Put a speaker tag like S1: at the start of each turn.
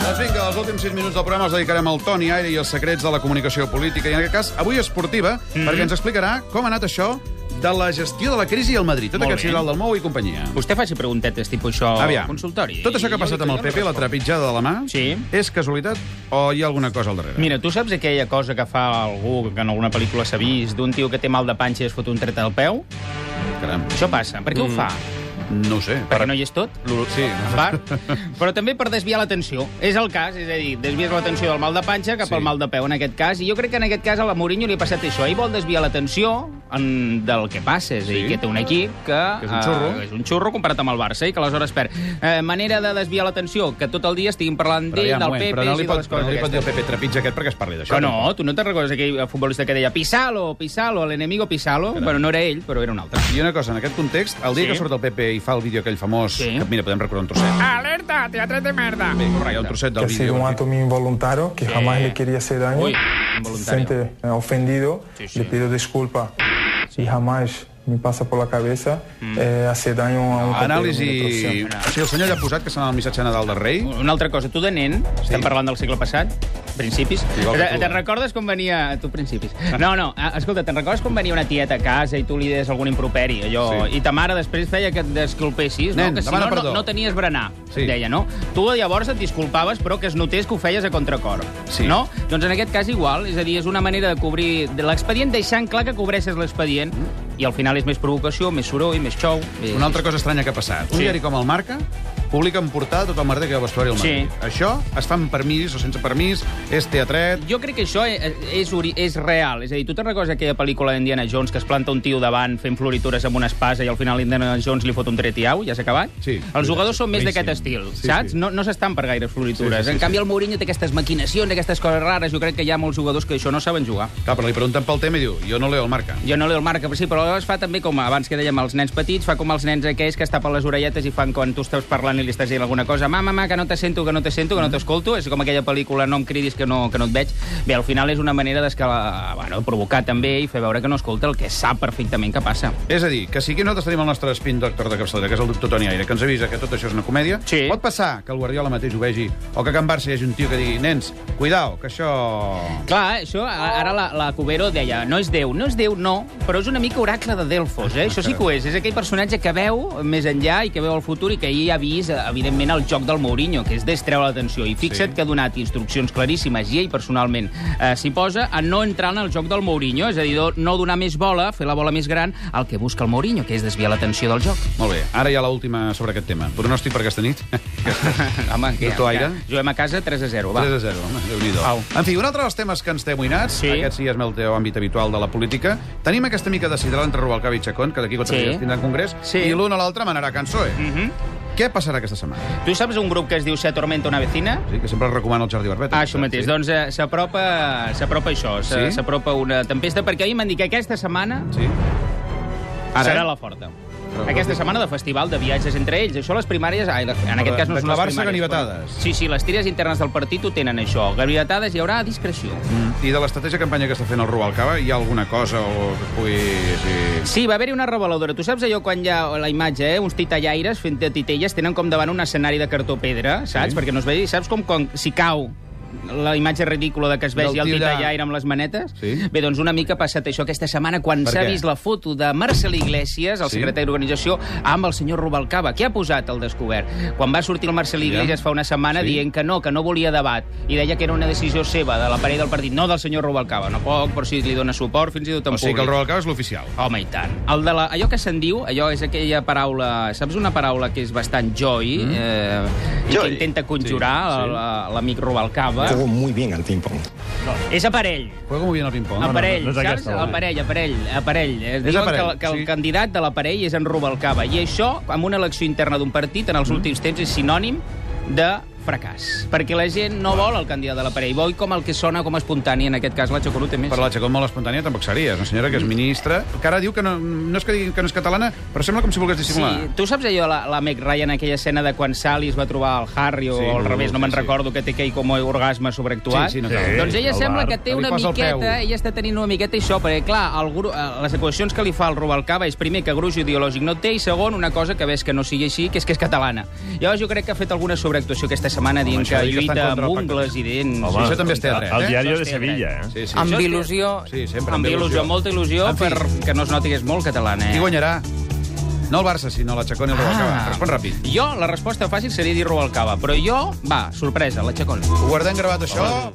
S1: Doncs els últims 6 minuts del programa els dedicarem al Toni Aire i els secrets de la comunicació política, i en aquest cas, avui esportiva,
S2: Mhm.
S1: mm -hmm. perquè ens explicarà com ha anat això de la gestió de la crisi al Madrid. Tot
S2: Molt
S1: aquest
S2: bé.
S1: fidel del Mou i companyia.
S2: Vostè faci preguntetes tipus això
S1: Aviam.
S2: al consultori.
S1: Tot això que ha
S2: Jo-
S1: passat amb
S2: jo
S1: el
S2: no
S1: PP, la
S2: responc.
S1: trepitjada de la mà,
S2: Sí.
S1: és casualitat o hi ha alguna cosa al darrere?
S2: Mira, tu saps aquella cosa que fa algú que en alguna pel·lícula s'ha vist d'un tio que té mal de panxa i es fot un tret al peu?
S1: Caram,
S2: Això passa. Per què
S1: Mm.
S2: ho fa?
S1: no ho sé.
S2: Perquè no hi és tot?
S1: Lo- Sí.
S2: en part, però també per desviar l'atenció. És el cas, és a dir, desvies l'atenció del mal de panxa cap
S1: Sí.
S2: sí. al mal de peu, en aquest cas. I jo crec que en aquest cas a la Mourinho li ha passat això. Ell vol desviar l'atenció en... del que passa, és a dir,
S1: Sí.
S2: que té un equip que...
S1: Que és un xurro.
S2: eh, és un xurro comparat amb el Barça i que aleshores perd. Eh, manera de desviar l'atenció, que tot el dia estiguin parlant
S1: Però,
S2: d'ell,
S1: aviam,
S2: del
S1: moment,
S2: Pepe
S1: però no
S2: i
S1: li
S2: de
S1: pot,
S2: les
S1: però
S2: coses
S1: no li pot dir al
S2: aquestes.
S1: Pepe trepitja aquest perquè es parli d'això.
S2: Però no, tu no te'n recordes aquell futbolista que deia Pisalo, Pisalo, l'enemigo Pisalo? Bueno, no era ell, però era un altre.
S1: I una cosa, en aquest context, el dia
S2: Sí.
S1: que surt el Pepe i fa el vídeo aquell famós,
S2: Sí. Ah.
S1: que, mira, podem recordar un trosset.
S2: Alerta, teatre de merda.
S1: Bé, hi ha un trosset del
S3: que ha sido
S1: vídeo.
S3: un acto muy involuntario, que jamás le quería hacer daño.
S2: Uy,
S3: se
S2: involuntario.
S3: siente eh, ofendido,
S2: Sí, sí.
S3: le pido disculpa. Y jamás me pasa por la cabeza
S2: Mm.
S3: eh, hacer daño a un compañero de
S1: Anàlisi...
S3: profesión.
S1: Sí, el senyor ja ha posat que s'ha anat el missatge a Nadal del rei.
S2: Una altra cosa, tu de nen, sí. estem parlant del segle passat, principis,
S1: Igual que
S2: te,
S1: tu, eh?
S2: te'n recordes com venia... Tu, principis. No, no, ah, escolta, te'n recordes com venia una tieta a casa i tu li deies algun improperi, allò,
S1: Sí.
S2: sí. i ta mare després feia que et desculpessis,
S1: Nen,
S2: no? que si
S1: demana
S2: no,
S1: perdó.
S2: no, no tenies berenar,
S1: Sí.
S2: sí. deia, no? Tu llavors et disculpaves, però que es notés que ho feies a contracor,
S1: Sí.
S2: no? Doncs en aquest cas igual, és a dir, és una manera de cobrir de l'expedient deixant clar que cobreixes l'expedient i al final és més provocació, més soroll, més xou... Més...
S1: Mm. Una altra cosa estranya que ha passat. Un
S2: Sí.
S1: diari com el Marca publica en portada tot el merder que hi ha al vestuari al Madrid.
S2: Sí.
S1: Això es fa amb permís o sense permís, és teatret...
S2: Jo crec que això és, és, ori- és real. És a dir, tu te'n recordes aquella pel·lícula d'Indiana Jones que es planta un tio davant fent floritures amb una espasa i al final l'Indiana Jones li fot un tret i au? Ja s'ha acabat?
S1: Sí.
S2: Els jugadors són més
S1: Boníssim.
S2: d'aquest estil,
S1: Sí,
S2: saps?
S1: sí.
S2: No, no s'estan per gaire floritures.
S1: Sí, sí, sí,
S2: en canvi, el Mourinho té aquestes maquinacions, aquestes coses rares. Jo crec que hi ha molts jugadors que això no saben jugar.
S1: Clar, però li pregunten pel tema i diu, jo no leo el Marca.
S2: Jo no leo el marca, però sí, però es fa també com abans que dèiem els nens petits, fa com els nens aquells que es tapen les orelletes i fan quan tu estàs parlant i li estàs dient alguna cosa, mama, mama, que no te sento, que no te sento, que no t'escolto, és com aquella pel·lícula no em cridis que no, que no et veig. Bé, al final és una manera d'escalar, bueno, provocar també i fer veure que no escolta el que sap perfectament que passa.
S1: És a dir, que si aquí nosaltres tenim el nostre spin doctor de capçalera, que és el doctor Toni Aire, que ens avisa que tot això és una comèdia,
S2: Sí.
S1: pot passar que el Guardiola mateix ho vegi o que a Can Barça hi hagi un tio que digui nens, cuidao, que això...
S2: Clar, això, a- ara la, la Cubero deia, no és Déu, no és Déu, no, però és una mica oracle de Delfos, eh? Això sí que ho és, és aquell personatge que veu més enllà i que veu el futur i que ahir ha vist, eh, evidentment, el joc del Mourinho, que és destreure l'atenció. I fixa't
S1: Sí.
S2: sí. que ha donat instruccions claríssimes, i ell personalment eh, s'hi posa, a no entrar en el joc del Mourinho, és a dir, do- no donar més bola, fer la bola més gran, al que busca el Mourinho, que és desviar l'atenció del joc.
S1: Molt bé, ara hi ha l'última sobre aquest tema. Pronòstic per aquesta nit?
S2: Home, què?
S1: Doctor Aire?
S2: Juguem a casa 3 a 0, va.
S1: 3 a 0, home, déu nhi
S2: Au.
S1: En fi, un altre dels temes que ens té amoïnats,
S2: Sí.
S1: aquest sí és el teu àmbit habitual de la política, tenim aquesta mica de sidral entre Rubalcaba i Chacón, que d'aquí 4
S2: Sí.
S1: dies tindran congrés,
S2: Sí.
S1: i l'un o l'altre manarà cançó. Mm.
S2: Mhm.
S1: Què passarà aquesta setmana?
S2: Tu saps un grup que es diu Se Atormenta una vecina?
S1: Sí, que sempre el recomano al Jordi Barbet.
S2: Ah, això mateix. Doncs eh, s'apropa s'apropa això, s'ha-
S1: Sí?
S2: s'apropa una tempesta, perquè a mi m'han dit que aquesta setmana
S1: Sí. Mm. Ara,
S2: serà
S1: eh?
S2: la forta.
S1: Però-
S2: Aquesta setmana de festival de viatges entre ells. Això les primàries... Ai, les- en aquest cas no són les
S1: declarar-se
S2: primàries.
S1: ganivetades.
S2: Sí, sí, les tires internes del partit ho tenen, això. Ganivetades hi haurà discreció.
S1: Mm. I de l'estratègia de campanya que està fent el Rubalcaba, hi ha alguna cosa o que pugui... Sí.
S2: Sí, va haver-hi una reveladora. Tu saps allò quan hi ha la imatge, eh? uns titellaires fent de titelles, tenen com davant un escenari de cartó-pedra, saps?
S1: Sí.
S2: Sí. Perquè no es vegi. Saps com quan, si cau la imatge ridícula de que es
S1: Del
S2: vegi el
S1: tio allà.
S2: titellaire amb les manetes?
S1: Sí.
S2: Bé, doncs una mica ha passat això aquesta setmana quan
S1: Per
S2: s'ha
S1: què?
S2: vist la foto de Marcel Iglesias, el
S1: Sí.
S2: sí. secretari d'organització, amb el senyor Rubalcaba. Què ha posat al descobert? Quan va sortir el Marcel Iglesias fa una setmana
S1: Sí.
S2: dient que no, que no volia debat, i deia que era una decisió seva, de l'aparell del partit, no del senyor Rubalcaba. No poc, però si li dona suport, fins i tot en
S1: O sigui que
S2: públic.
S1: el Rubalcaba és l'oficial.
S2: Home, i tant. El de la, allò que se'n diu, allò és aquella paraula... Saps una paraula que és bastant joy, mm. eh, i que
S4: Joy.
S2: intenta conjurar
S1: Sí,
S2: sí, sí. l'amic Rubalcaba?
S5: Juego muy bien al ping-pong.
S2: És aparell.
S1: Juega molt bé en el ping-pong.
S2: Aparell,
S6: no és
S2: saps?
S6: aquesta, la
S2: aparell, aparell, aparell. Es diuen
S1: aparell,
S2: que, el- que el
S1: sí.
S2: candidat de l'aparell és en Rubalcaba. I això, amb una elecció interna d'un partit, en els últims temps, és sinònim de fracàs. Perquè la gent no vol el candidat de l'aparell, vol com el que sona com a espontani, en aquest cas la Xocorut té més.
S1: Per la Chacón molt espontània tampoc seria. És una senyora que és ministra, que ara diu que no, no és que digui que no és catalana, però sembla com si volgués dissimular.
S2: Sí, tu saps allò, la, la Meg Ryan, aquella escena de quan Sally es va trobar al Harry o
S1: Sí,
S2: sí, al
S1: no,
S2: revés, no me'n
S1: sí,
S2: sí,
S1: sí.
S2: recordo que té aquell com a orgasme sobreactuat.
S1: Sí, sí, no cal.
S2: Doncs ella
S6: el
S2: sembla
S6: bar.
S2: que té
S1: Que li
S2: una
S1: posa el peu.
S2: miqueta, ella està tenint una miqueta això, perquè clar, el gru, eh, les equacions que li fa el Rubalcaba és primer que gruix ideològic no té i segon una cosa que ves que no sigui així, que és que és catalana. Llavors jo crec que ha fet alguna sobreactuació aquesta aquesta setmana dient
S1: Home, això
S2: que
S1: dic que estan
S2: lluita
S1: contra
S2: amb
S1: el pacte.
S2: ungles i dents.
S1: Home, això també es té a dret,
S4: El
S1: eh?
S4: diari
S2: Això
S4: de
S2: es té a
S4: Sevilla, eh?
S1: Sí, sí.
S5: Amb
S2: Això-
S5: il·lusió.
S1: Sí, sempre.
S2: Amb il·lusió, molta il·lusió,
S1: En fi.
S2: perquè no es noti que és molt catalana.
S1: Qui
S2: Eh?
S1: guanyarà? No el Barça, sinó la Chacón i el
S2: Ah.
S1: Rubalcaba. Respon ràpid.
S2: Jo, la resposta fàcil seria dir Rubalcaba, però jo, va, sorpresa, la Chacón.
S1: Ho guardem gravat, això?